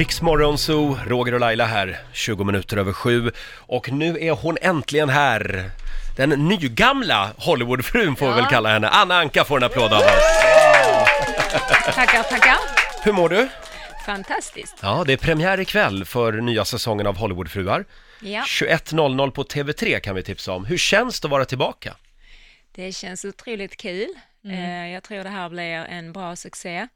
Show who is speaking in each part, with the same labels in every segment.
Speaker 1: Riksmorgon Zoo, Roger och Laila här, 20 minuter över sju. Och nu är hon äntligen här. Den nygamla Hollywoodfrun får vi väl kalla henne. Anna Anka får en applåd av oss.
Speaker 2: Tackar, tackar.
Speaker 1: Hur mår du?
Speaker 2: Fantastiskt.
Speaker 1: Ja, det är premiär ikväll för nya säsongen av Hollywoodfruar.
Speaker 2: Ja,
Speaker 1: 21.00 på TV3 kan vi tipsa om. Hur känns det att vara tillbaka?
Speaker 2: det känns otroligt kul. Eh, Jag tror det här blir en bra succé,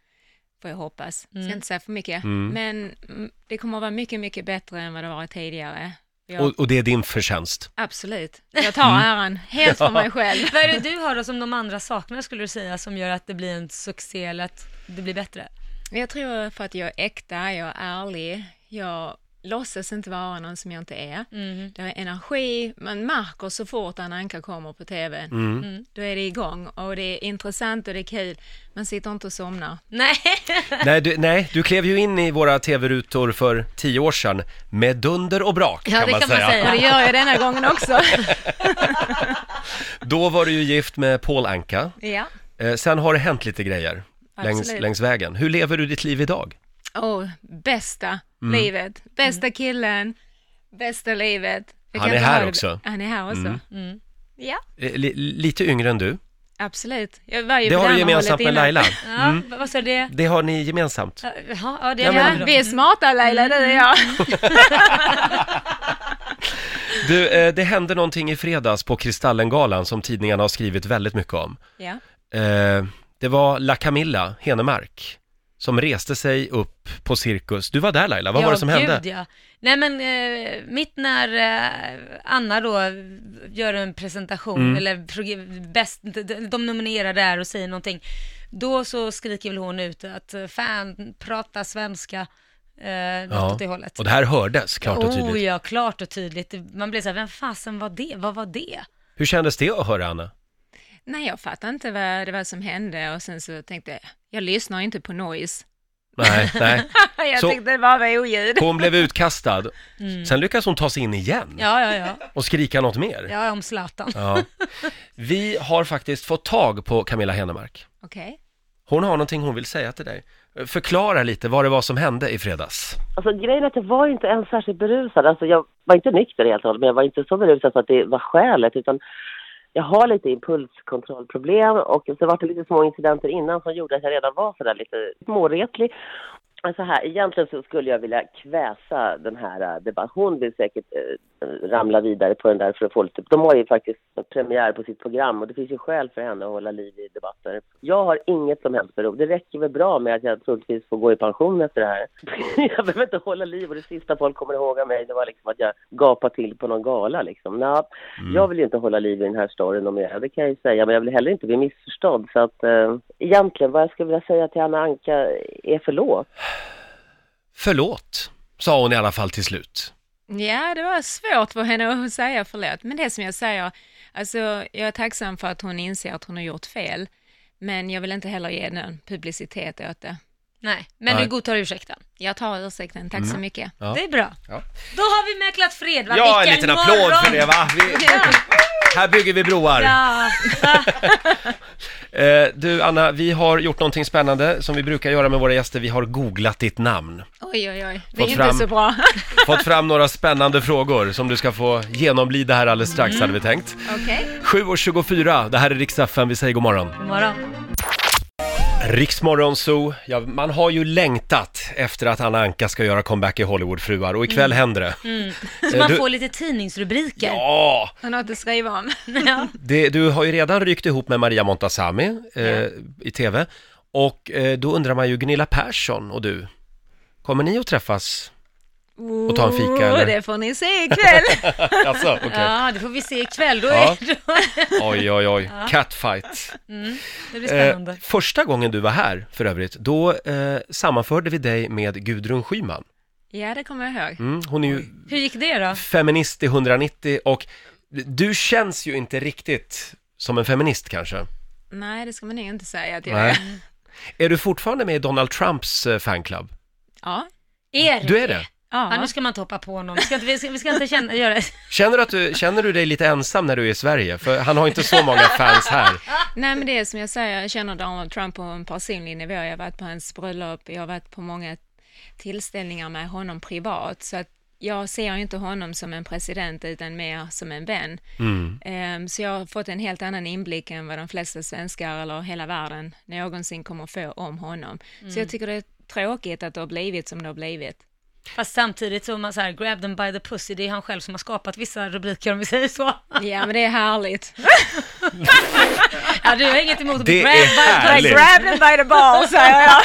Speaker 2: får jag hoppas. Ska inte säga för mycket, men mm, det kommer att vara mycket, mycket bättre än vad det varit tidigare. Ja,
Speaker 1: Och, och det är din förtjänst.
Speaker 2: Absolut. Jag tar äran helt för mig själv.
Speaker 3: Vad är det du har då som de andra saknar skulle du säga som gör att det blir en succé eller att det blir bättre?
Speaker 2: Jag tror för att jag är äkta, jag är ärlig, jag låtsas inte vara någon som jag inte är. Det är energi, man märker så fort Anna Anka kommer på TV, då är det igång och det är intressant och det är kul. Man sitter inte och somnar.
Speaker 3: Nej,
Speaker 1: Nej du, nej, du klev ju in i våra TV-rutor för tio år sedan med dunder och brak
Speaker 3: Ja,
Speaker 1: kan,
Speaker 3: det
Speaker 1: man,
Speaker 3: kan man
Speaker 1: säga.
Speaker 3: säga.
Speaker 2: Och det gör jag denna gången också.
Speaker 1: Då var du ju gift med Paul Anka.
Speaker 2: ja.
Speaker 1: Eh, sen har det hänt lite grejer längs,
Speaker 2: Absolut.
Speaker 1: längs vägen. Hur lever du ditt liv idag?
Speaker 2: Åh, Oh, bästa
Speaker 1: Mm.
Speaker 2: livet, bästa killen, bästa livet. Jag
Speaker 1: Han
Speaker 2: kan
Speaker 1: är
Speaker 2: inte
Speaker 1: här
Speaker 2: ha det-
Speaker 1: också. Mm.
Speaker 2: Han är här också. Mm. Ja,
Speaker 1: Eh, li, lite yngre än du.
Speaker 2: absolut. Jag var ju
Speaker 1: Det
Speaker 2: på
Speaker 1: har du
Speaker 2: andra
Speaker 1: gemensamt
Speaker 2: hållet
Speaker 1: med
Speaker 2: innan.
Speaker 1: Laila.
Speaker 3: ja, vad- vad sa du det?
Speaker 1: Det har ni gemensamt.
Speaker 3: Jaha, ja det
Speaker 1: Mm. Ja,
Speaker 3: är
Speaker 1: men-
Speaker 3: bra.
Speaker 2: Vi är smarta Laila, du och jag.
Speaker 1: Du, eh, det hände någonting i fredags på Kristallengalan som tidningarna har skrivit väldigt mycket om.
Speaker 2: Ja.
Speaker 1: Eh, det var La Camilla Henemark som reste sig upp på cirkus. Du var där Laila, vad
Speaker 3: ja,
Speaker 1: var det som
Speaker 3: gud,
Speaker 1: hände?
Speaker 3: Ja. Nej men eh, mitt när eh, Anna då gör en presentation
Speaker 1: Mm.
Speaker 3: eller prog- bäst, de- de- de nominerar där och säger någonting, då så skriker väl hon ut att eh, fan prata svenska, eh, något åt det hållet.
Speaker 1: och det här hördes klart och
Speaker 3: Oh
Speaker 1: tydligt.
Speaker 3: ja, klart och tydligt. Man blir så här, vem fasen var det? Vad var det?
Speaker 1: Hur kändes det att höra Anna?
Speaker 2: Nej, jag fattade inte vad det var som hände och sen så tänkte jag, jag lyssnar inte på noise.
Speaker 1: Nej, nej.
Speaker 2: Jag
Speaker 1: Så-
Speaker 2: tyckte det bara var oljud.
Speaker 1: Hon blev utkastad, sen lyckas hon ta sig in igen
Speaker 3: Mm. Ja, ja, ja.
Speaker 1: och skrika något mer.
Speaker 3: Ja, om Zlatan.
Speaker 1: Ja. Vi har faktiskt fått tag på Camilla Henemark.
Speaker 2: Okej.
Speaker 1: Hon har någonting hon vill säga till dig. Förklara lite vad det var som hände i fredags.
Speaker 4: Alltså grejen är att jag var inte ens särskilt berusad. Alltså jag var inte nykter helt och hållet, men jag var inte så berusad så att det var skälet utan jag har lite impulskontrollproblem och så var det lite små incidenter innan som gjorde att jag redan var sådär lite småretlig. Men Så här, egentligen så skulle jag vilja kväsa den här eh, debatten. Hon vill säkert eh, ramla vidare på den där för att få lite... De har ju faktiskt premiär på sitt program och det finns ju skäl för henne att hålla liv i debatter. Jag har inget som helst behov. Det räcker väl bra med att jag troligtvis får gå i pension efter det här. jag behöver inte hålla liv och det sista folk kommer ihåg av mig det var liksom att jag gapade till på någon gala liksom. Nå,
Speaker 1: Mm.
Speaker 4: Jag vill ju inte hålla liv i den här storyn om jag, det kan jag ju säga, men jag vill heller inte bli missförstådd. Så att eh, egentligen vad jag skulle vilja säga till Anna Anka är förlåt.
Speaker 1: Förlåt, sa hon i alla fall till slut.
Speaker 2: Ja, det var svårt för henne att säga förlåt, men det som jag säger, alltså jag är tacksam för att hon inser att hon har gjort fel, men jag vill inte heller ge någon publicitet åt det.
Speaker 3: Nej, men
Speaker 1: Nej.
Speaker 3: du godtar ursäkten.
Speaker 2: Jag tar ursäkten, tack
Speaker 1: Mm.
Speaker 2: så mycket.
Speaker 1: Ja.
Speaker 3: Det är bra.
Speaker 1: Ja.
Speaker 3: Då har vi mäklat fred, va?
Speaker 1: Ja, en
Speaker 3: Vilken
Speaker 1: liten applåd
Speaker 3: morgon!
Speaker 1: för det va? Vi,
Speaker 3: Ja.
Speaker 1: här bygger vi broar.
Speaker 3: Ja.
Speaker 1: Eh, du Anna, vi har gjort någonting spännande som vi brukar göra med våra gäster. Vi har googlat ditt namn.
Speaker 2: Oj, oj, oj, det är
Speaker 1: Fått
Speaker 2: inte
Speaker 1: fram-
Speaker 2: så bra.
Speaker 1: Fått fram några spännande frågor som du ska få genomlida här alldeles strax hade vi tänkt.
Speaker 3: Mm.
Speaker 2: Okej.
Speaker 1: 7.24, det här är riksdag vi säger god morgon.
Speaker 3: God morgon.
Speaker 1: Riksmorgon Zoo, ja, man har ju längtat efter att Anna Anka ska göra comeback i Hollywoodfruar och ikväll händer det.
Speaker 3: Mm.
Speaker 1: Eh,
Speaker 3: Så man
Speaker 1: du-
Speaker 3: får lite tidningsrubriker.
Speaker 1: Ja,
Speaker 2: Har något att skriva om.
Speaker 3: Ja.
Speaker 1: det, du har ju redan rykt ihop med Maria Montazami eh, i TV och eh, då undrar man ju Gunilla Persson och du, kommer ni att träffas? Och ta en fika,
Speaker 2: Oh,
Speaker 1: eller?
Speaker 2: Det får ni se ikväll.
Speaker 1: Alltså, okej.
Speaker 3: ja, det får vi se ikväll. Då är
Speaker 1: Ja.
Speaker 3: då,
Speaker 1: Oj, oj, oj, catfight.
Speaker 3: det blir spännande.
Speaker 1: Eh, första gången du var här för övrigt, då eh, sammanförde vi dig med Gudrun Schyman.
Speaker 2: ja, det kommer jag ihåg.
Speaker 1: Mm, hon är ju
Speaker 3: Hur gick det då?
Speaker 1: feminist i 190 och du känns ju inte riktigt som en feminist kanske.
Speaker 2: Nej, det ska man ju inte säga att jag
Speaker 1: Nej.
Speaker 2: är.
Speaker 1: Är du fortfarande med i Donald Trumps eh, fanclub?
Speaker 2: Ja.
Speaker 3: Er?
Speaker 1: Du är det?
Speaker 3: Ja, nu
Speaker 2: ja.
Speaker 3: ska man toppa på honom. Vi ska inte, vi ska, vi ska inte känna, göra
Speaker 1: Känner du, att du, känner du dig lite ensam när du är i Sverige? För han har inte så många fans här.
Speaker 2: Nej, men det är som jag säger, jag känner Donald Trump på en personlig nivå. Jag har varit på hans bröllop, jag har varit på många tillställningar med honom privat. Så att jag ser ju inte honom som en president utan mer som en vän. Ehm, Så jag har fått en helt annan inblick än vad de flesta svenskar eller hela världen någonsin kommer få om honom. Så jag tycker det är tråkigt att det har blivit som det har blivit.
Speaker 3: Fast samtidigt så om man så här, grab them by the pussy, det är han själv som har skapat vissa rubriker om vi säger så.
Speaker 2: Ja, men det är härligt.
Speaker 3: Ja, du har inget emot att bli
Speaker 1: Det
Speaker 3: grab
Speaker 1: är
Speaker 3: by the
Speaker 1: härligt.
Speaker 3: pussy.
Speaker 2: Grab them by the ball, säger jag.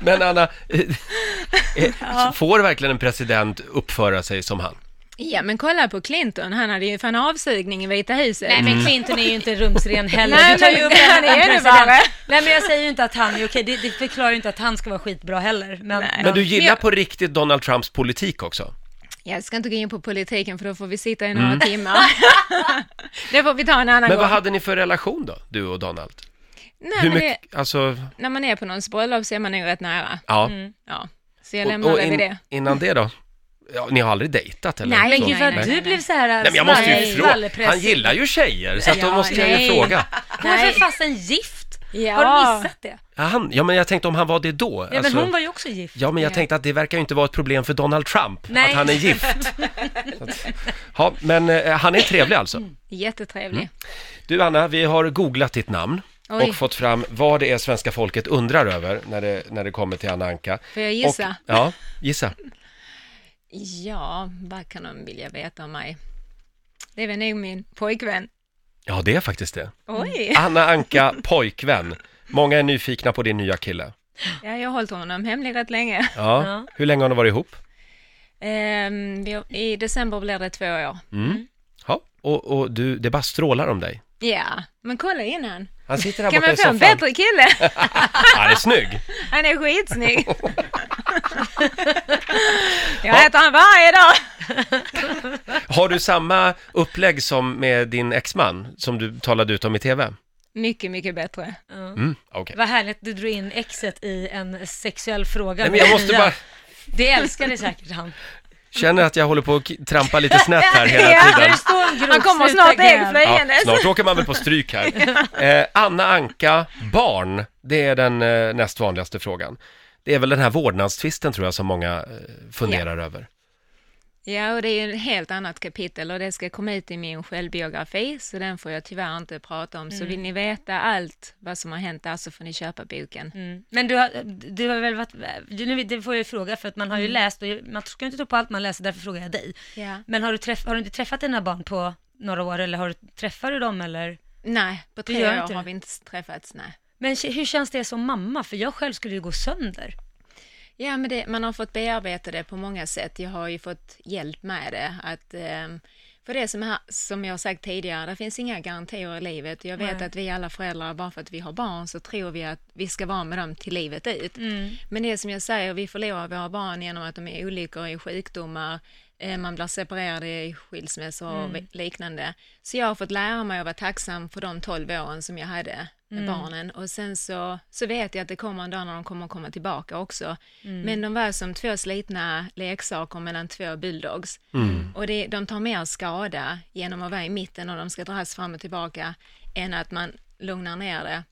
Speaker 1: Men Anna, eh, eh, får verkligen en president uppföra sig som han?
Speaker 2: Ja, men kolla på Clinton. Han hade ju fan avsugning i Vita huset.
Speaker 3: Nej
Speaker 1: Mm.
Speaker 3: men Clinton är ju inte rumsren heller.
Speaker 2: Nej,
Speaker 3: Du tar ju
Speaker 2: men
Speaker 3: upp en-
Speaker 2: han är
Speaker 3: en
Speaker 2: ännu
Speaker 3: president.
Speaker 2: värre.
Speaker 3: Nej men jag säger ju inte att han är okej, det, det förklarar ju inte att han ska vara skitbra heller. Men,
Speaker 1: Men du gillar
Speaker 2: jag-
Speaker 1: på riktigt Donald Trumps politik också?
Speaker 2: Jag ska inte gå in på politiken för då får vi sitta i några timmar. det får vi ta en annan
Speaker 1: Mm. Men
Speaker 2: gång.
Speaker 1: vad hade ni för relation då, du och Donald?
Speaker 2: Nej,
Speaker 1: Hur
Speaker 2: men det,
Speaker 1: mycket, alltså,
Speaker 2: när man är på någons bröllop så är man nog rätt nära.
Speaker 1: ja.
Speaker 2: Ja, så jag
Speaker 1: Och,
Speaker 2: lämnar
Speaker 1: och
Speaker 2: det vid
Speaker 1: in,
Speaker 2: det.
Speaker 1: innan det då? Ja, ni har aldrig dejtat eller?
Speaker 2: Nej,
Speaker 1: så?
Speaker 3: men gud vad
Speaker 2: nej,
Speaker 3: du
Speaker 2: nej.
Speaker 3: blev så här
Speaker 1: Nej, men jag måste ju
Speaker 3: svall-
Speaker 1: fråga.
Speaker 3: svallpress.
Speaker 1: Han gillar ju tjejer, så att då
Speaker 2: Ja,
Speaker 1: måste jag ju
Speaker 3: nej.
Speaker 1: fråga.
Speaker 3: Hon är
Speaker 2: Nej.
Speaker 3: för fasen gift.
Speaker 2: Ja.
Speaker 3: Har du missat det?
Speaker 1: Ja, han, ja, men jag tänkte om han var det då.
Speaker 3: Ja
Speaker 1: alltså-
Speaker 3: men hon var ju också gift.
Speaker 1: Ja, men jag tänkte att det verkar ju inte vara ett problem för Donald Trump,
Speaker 3: Nej.
Speaker 1: att han är gift. Så att- Ja, men eh, han är trevlig alltså.
Speaker 2: Jättetrevlig.
Speaker 1: Mm. Du Anna, vi har googlat ditt namn
Speaker 2: Oj.
Speaker 1: och fått fram vad det är svenska folket undrar över när det, när det kommer till Anna Anka.
Speaker 2: Får jag gissa?
Speaker 1: Och, ja, gissa.
Speaker 2: Ja, vad kan de vilja veta om mig? Det är väl nog min pojkvän.
Speaker 1: Ja, det är faktiskt det.
Speaker 2: Oj!
Speaker 1: Anna Anka, pojkvän. Många är nyfikna på din nya kille.
Speaker 2: Ja, jag har hållit honom hemlig rätt länge.
Speaker 1: Ja.
Speaker 3: Ja.
Speaker 1: Hur länge har ni varit ihop?
Speaker 2: Ehm, vi har- I december blir det två år.
Speaker 1: Mm. Ja. Och, och du, det bara strålar om dig.
Speaker 2: Ja, men kolla in han.
Speaker 1: Han sitter här
Speaker 2: Kan
Speaker 1: borta
Speaker 2: man
Speaker 1: i
Speaker 2: få en
Speaker 1: soffan.
Speaker 2: bättre kille?
Speaker 1: Han är snygg.
Speaker 2: Han är skitsnygg. Jag äter han varje dag.
Speaker 1: Har du samma upplägg som med din exman, som du talade ut om i tv?
Speaker 2: Mycket, mycket bättre.
Speaker 1: Mm, okej.
Speaker 3: Vad härligt du drog in exet i en sexuell fråga.
Speaker 1: Nej, men jag måste
Speaker 3: Ja.
Speaker 1: bara...
Speaker 3: Det älskade säkert han.
Speaker 1: Känner att jag håller på att k- trampa lite snett här hela
Speaker 2: Ja.
Speaker 1: tiden.
Speaker 3: Där står en grov
Speaker 2: Han kommer
Speaker 3: sluta
Speaker 2: snart ägg
Speaker 3: gräv.
Speaker 1: Ja,
Speaker 2: flygandes.
Speaker 1: snart åker man väl på stryk här. Eh, Anna Anka, barn, det är den eh, näst vanligaste frågan. Det är väl den här vårdnadstvisten tror jag som många eh, funderar över.
Speaker 2: Ja, och det är ju ett helt annat kapitel och det ska komma ut i min självbiografi, så den får jag tyvärr inte prata om. Så vill ni veta allt vad som har hänt där så får ni köpa boken.
Speaker 3: Mm. Men du har, du har väl varit, du, nu- det får jag ju fråga för att man har ju läst och man ska ju inte tro på allt man läser, därför frågar jag dig.
Speaker 2: Mm. Ja.
Speaker 3: Men har du, träff, har du inte träffat dina barn på några år eller har du, träffar du dem eller?
Speaker 2: Nej, på tre
Speaker 3: gör
Speaker 2: år
Speaker 3: inte
Speaker 2: har
Speaker 3: det.
Speaker 2: vi inte träffats, nej.
Speaker 3: Men k- hur känns det som mamma? För jag själv skulle ju gå sönder.
Speaker 2: Ja, men det, man har fått bearbeta det på många sätt. Jag har ju fått hjälp med det. Att, ehm, för det som, här, som jag har sagt tidigare, det finns inga garantier i livet. Jag vet att vi alla föräldrar, bara för att vi har barn, så tror vi att vi ska vara med dem till livet ut. Men det är som jag säger, vi förlorar våra barn genom att de är olyckor i sjukdomar, eh, man blir separerad i skilsmässor och liknande. Så jag har fått lära mig att vara tacksam för de 12 åren som jag hade med barnen och sen så, så vet jag att det kommer en dag när de kommer att komma tillbaka också. Men de var som två slitna leksaker mellan två bulldogs och det, de tar mer skada genom att vara i mitten och de ska dras fram och tillbaka än att man lugnar ner det.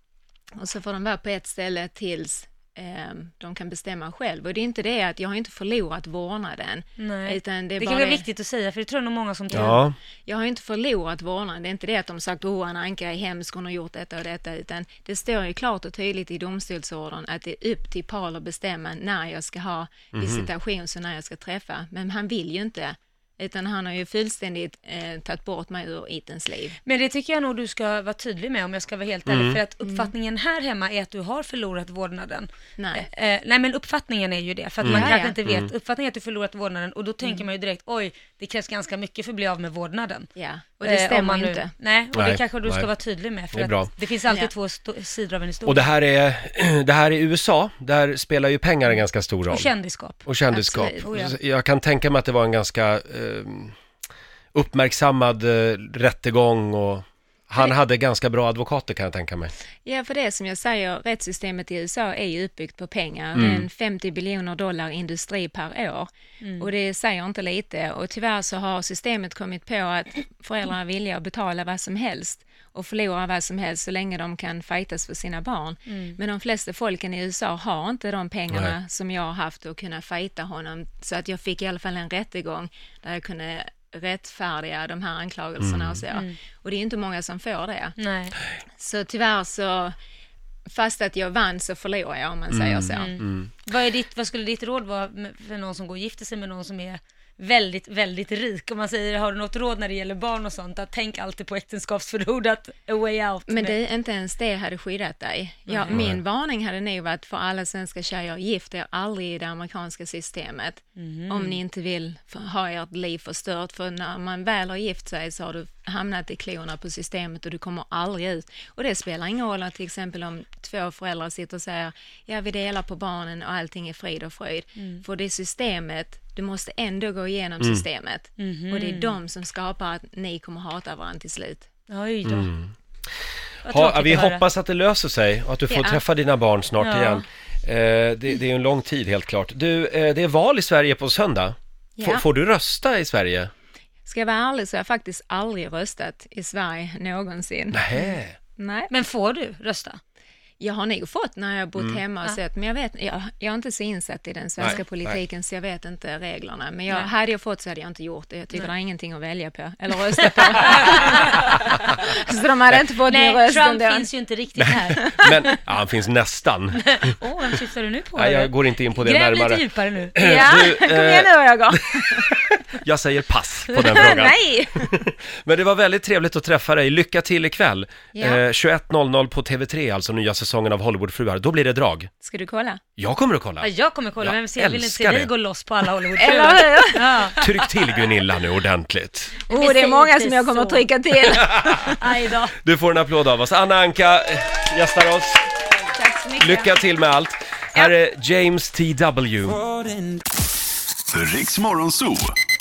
Speaker 2: Och så får de vara på ett ställe tills ehm, de kan bestämma själv. Och det är inte det att jag har inte förlorat vårdnaden.
Speaker 3: Nej.
Speaker 2: Utan det är
Speaker 3: Det
Speaker 2: bara
Speaker 3: kanske är
Speaker 2: det.
Speaker 3: viktigt att säga, för det tror jag nog många som tror.
Speaker 1: Ja,
Speaker 2: Jag har inte förlorat vårdnaden. Det är inte det att de sagt att Anna Anka är hemsk, hon har gjort detta och detta. Utan det står ju klart och tydligt i domstolsordern att det är upp till Paul att bestämma när jag ska ha
Speaker 3: Mhm.
Speaker 2: visitation, så när jag ska träffa. Men han vill ju inte. Utan han har ju fullständigt eh, tagit bort mig ur Itens liv.
Speaker 3: Men det tycker jag nog du ska vara tydlig med om jag ska vara helt
Speaker 1: Mm.
Speaker 3: ärlig. För att uppfattningen här hemma är att du har förlorat vårdnaden.
Speaker 2: Nej.
Speaker 3: Eh, eh, nej men uppfattningen är ju det. För att man
Speaker 1: Mm.
Speaker 2: Ja,
Speaker 3: kanske
Speaker 2: ja.
Speaker 3: inte vet. Uppfattningen är att du förlorat vårdnaden och då tänker man ju direkt oj, det krävs ganska mycket för att bli av med vårdnaden.
Speaker 2: Ja, och det
Speaker 3: Eh, om
Speaker 2: stämmer
Speaker 3: man
Speaker 2: ju
Speaker 3: nu-
Speaker 2: inte.
Speaker 3: Nej, och
Speaker 1: Nej,
Speaker 3: det kanske du ska
Speaker 1: nej.
Speaker 3: vara tydlig med. För
Speaker 1: Det är
Speaker 3: det,
Speaker 1: bra.
Speaker 3: att det finns alltid
Speaker 2: Ja.
Speaker 3: två sto- sidor av en historia.
Speaker 1: och
Speaker 3: Och,
Speaker 1: det här, är, det här är USA, där spelar ju pengar en ganska stor roll.
Speaker 3: kändisskap.
Speaker 1: Och kändisskap.
Speaker 2: Absolut,
Speaker 3: oh ja.
Speaker 1: Jag kan tänka mig att det ehm, var en ganska eh, uppmärksammad eh, rättegång och Han hade ganska bra advokater kan jag tänka mig.
Speaker 2: Ja, för det som jag säger, rättssystemet i USA är ju uppbyggt på pengar. Det är en 50 biljoner dollar industri per år och det säger inte lite. Och tyvärr så har systemet kommit på att föräldrar är villiga att betala vad som helst och förlora vad som helst så länge de kan fightas för sina barn. Men de flesta folken i USA har inte de pengarna som jag har haft att kunna fighta honom. Så att jag fick i alla fall en rättegång där jag kunde rättfärdiga de här anklagelserna och så. Och det är inte många som får det.
Speaker 3: Nej.
Speaker 2: Så tyvärr så, fast att jag vann så förlorade jag om man säger så.
Speaker 3: Vad, är ditt, vad skulle ditt råd vara med- för någon som går och gifter sig med någon som är väldigt, väldigt rik? Om man säger, har du något råd när det gäller barn och sånt? Att tänk alltid på äktenskapsförordat, a way out.
Speaker 2: Men
Speaker 3: med-
Speaker 2: det, inte ens det hade skyddat dig. Ja, Min varning hade nog varit för alla svenska tjejer, gift er aldrig i det amerikanska systemet. Om ni inte vill f- ha ert liv förstört. För när man väl har gift sig så har du hamnat i klorna på systemet och du kommer aldrig ut. Och det spelar ingen roll att till exempel om två föräldrar sitter och säger, ja vi delar på barnen och allting är frid och fröjd. För det systemet, du måste ändå gå igenom systemet. Och det är de som skapar att ni kommer hata varandra till slut.
Speaker 3: Oj då. Vad
Speaker 1: Mm. Ha,
Speaker 3: tråkigt
Speaker 1: vi
Speaker 3: att höra.
Speaker 1: hoppas att det löser sig och att du får
Speaker 2: Ja.
Speaker 1: träffa dina barn snart
Speaker 3: Ja.
Speaker 1: igen. Eh, det, det är ju en lång tid helt klart. Du, eh, det är val i Sverige på söndag. Får-
Speaker 2: Ja.
Speaker 1: Får du rösta i Sverige?
Speaker 2: Ska jag vara ärlig så har jag faktiskt aldrig röstat i Sverige någonsin. Nej.
Speaker 1: Nej.
Speaker 3: Men får du rösta?
Speaker 2: Jag har nog fått när jag har bott hemma och sett, men jag, vet, jag, jag är inte så insatt i den svenska
Speaker 1: Mm. Nej,
Speaker 2: politiken så jag vet inte reglerna. Men jag,
Speaker 3: Nej.
Speaker 2: hade jag fått så hade jag inte gjort det. Jag tycker det är ingenting att välja på, eller rösta på. så de hade inte fått min
Speaker 3: Nej,
Speaker 2: röst
Speaker 3: Trump
Speaker 2: ändå.
Speaker 3: finns ju inte riktigt här.
Speaker 1: Men ja, han finns nästan.
Speaker 3: Åh, vem syftar du nu på?
Speaker 1: Nej, jag går inte in på det
Speaker 3: Gräv lite
Speaker 1: närmare.
Speaker 3: djupare nu.
Speaker 2: Ja,
Speaker 1: Du,
Speaker 2: kom
Speaker 1: eh,
Speaker 2: igen nu Roger.
Speaker 1: Jag säger pass på den frågan.
Speaker 2: Nej!
Speaker 1: Men det var väldigt trevligt att träffa dig. Lycka till ikväll.
Speaker 2: Ja.
Speaker 1: Eh, 21.00 på TV3, alltså nya säsongen av Hollywoodfruar. Då blir det drag.
Speaker 2: Ska du kolla?
Speaker 1: Jag kommer att kolla.
Speaker 3: Ja, jag kommer kolla,
Speaker 1: Jag
Speaker 3: vem ser, jag vill inte se
Speaker 1: älskar
Speaker 3: dig
Speaker 1: det.
Speaker 3: gå loss på alla Hollywood
Speaker 2: Eller hur?
Speaker 3: Ja,
Speaker 1: Tryck till Gunilla nu ordentligt.
Speaker 2: Oh, det är
Speaker 3: säger
Speaker 2: många
Speaker 3: inte
Speaker 2: som jag kommer att
Speaker 3: så.
Speaker 2: trycka till.
Speaker 3: aj då.
Speaker 1: Du får en applåd av oss. Anna Anka eh, gästar oss.
Speaker 2: Tack så mycket.
Speaker 1: Lycka till med allt. Här är James T.W.
Speaker 5: Riks Morgonzoo.